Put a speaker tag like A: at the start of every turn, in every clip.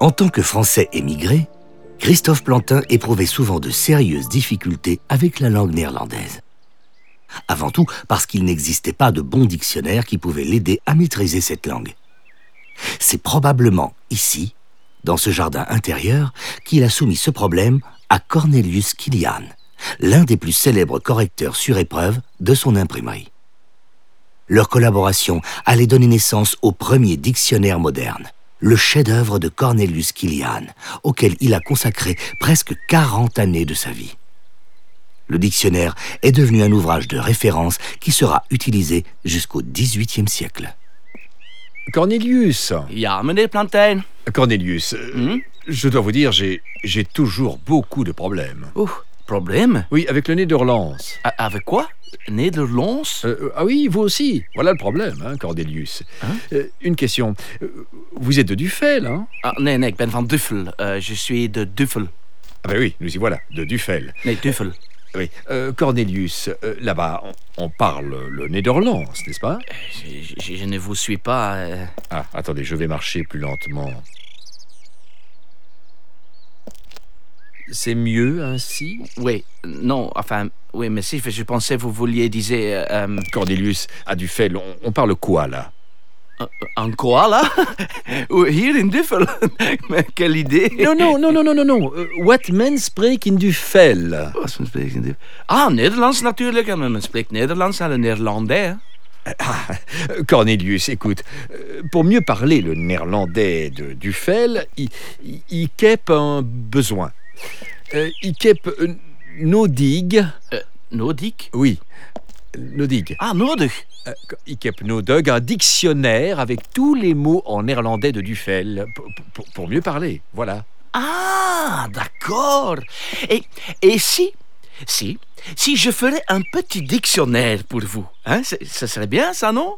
A: En tant que Français émigré, Christophe Plantin éprouvait souvent de sérieuses difficultés avec la langue néerlandaise. Avant tout parce qu'il n'existait pas de bon dictionnaire qui pouvait l'aider à maîtriser cette langue. C'est probablement ici, dans ce jardin intérieur, qu'il a soumis ce problème à Cornelius Kilian, l'un des plus célèbres correcteurs sur épreuve de son imprimerie. Leur collaboration allait donner naissance au premier dictionnaire moderne, le chef-d'œuvre de Cornelius Kilian, auquel il a consacré presque 40 années de sa vie. Le dictionnaire est devenu un ouvrage de référence qui sera utilisé jusqu'au XVIIIe siècle.
B: Cornelius
C: Ja, meneer Plantijn.
B: Cornelius, euh,
C: Hmm?
B: je dois vous dire, j'ai j'ai toujours beaucoup de problèmes.
C: Oeh, probleem.
B: Oui, avec le nez de relance.
C: A- avec quoi Nederlands
B: Euh, euh, ah oui, vous aussi. Voilà le problème, hein, Cornelius.
C: Hein
B: Euh, une question. Euh, Vous êtes de Dufel, hein
C: ah, Nee, nee, ik ben van Duffel. Eh, je suis de Duffel.
B: Ah ben oui, nous y voilà, de Dufel.
C: Nee, Duffel.
B: Oui. Euh, Cornelius, euh, là-bas, on, on parle le nez de relance, n'est-ce pas
C: Eh, Je, je- je ne vous suis pas. eh.
B: Ah, attendez, je vais marcher plus lentement. C'est mieux ainsi
C: Oui, non, enfin, oui, mais si, je pensais que vous vouliez dire euh, euh,
B: Cornelius a du fait. On, on parle quoi là
C: un koala Oui, Hier in Duffel. mais quelle idée
B: Non, non, non, non, non, non, non. Euh, what men spreek in du fel
C: Was men spreekt in Duffel? Ah, Nederlands natuurlijk. En men spreekt Nederlands aan de Néerlandais. hè.
B: Euh, Cornelius, écoute, euh, pour mieux parler le néerlandais de Dufel, il, il, il kep un besoin. Euh, il kep euh, nos digues.
C: Nordique
B: Oui, nos digues.
C: Eh, Ah, nodig.
B: Euh, Ikep Nodug, un dictionnaire avec tous les mots en néerlandais de Dufel, p- p- pour, mieux parler, voilà.
C: Ah, d'accord. Et, et si, si, si je ferais un petit dictionnaire pour vous, hein, ce ce serait bien ça, non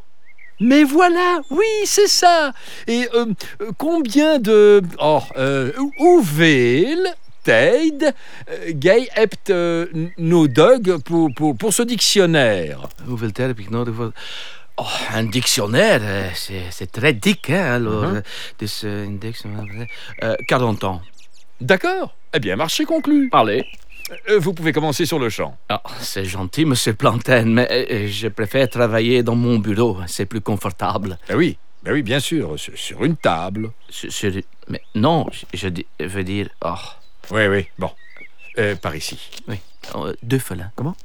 B: Mais voilà, oui, c'est ça Et euh, euh, combien de... Oh, euh, hoeveel tijd euh, gij hebt euh, nodig pour, pour, pour ce dictionnaire
C: Hoeveel tijd heb ik nodig voor... Oh, een dictionnaire, eh, c'est c'est très dik, hein, alors...
B: Mhm.
C: eh, Dus eh, een dictionnaire... eh, 40 ans.
B: D'accord Eh bien, marché conclu
C: Allez.
B: Euh, Vous pouvez commencer sur le champ.
C: Ah, c'est gentil, monsieur Plantain, mais eh, eh, je préfère travailler dans mon bureau, hein, c'est plus confortable.
B: Ben oui, ben oui, bien sûr, sur, sur une table.
C: Sur- sur- mais non, je, je dis- veux dire... Oh,
B: Oui, oui, bon. Euh, par ici.
C: oui, oh, deux feuilles, hein. Comment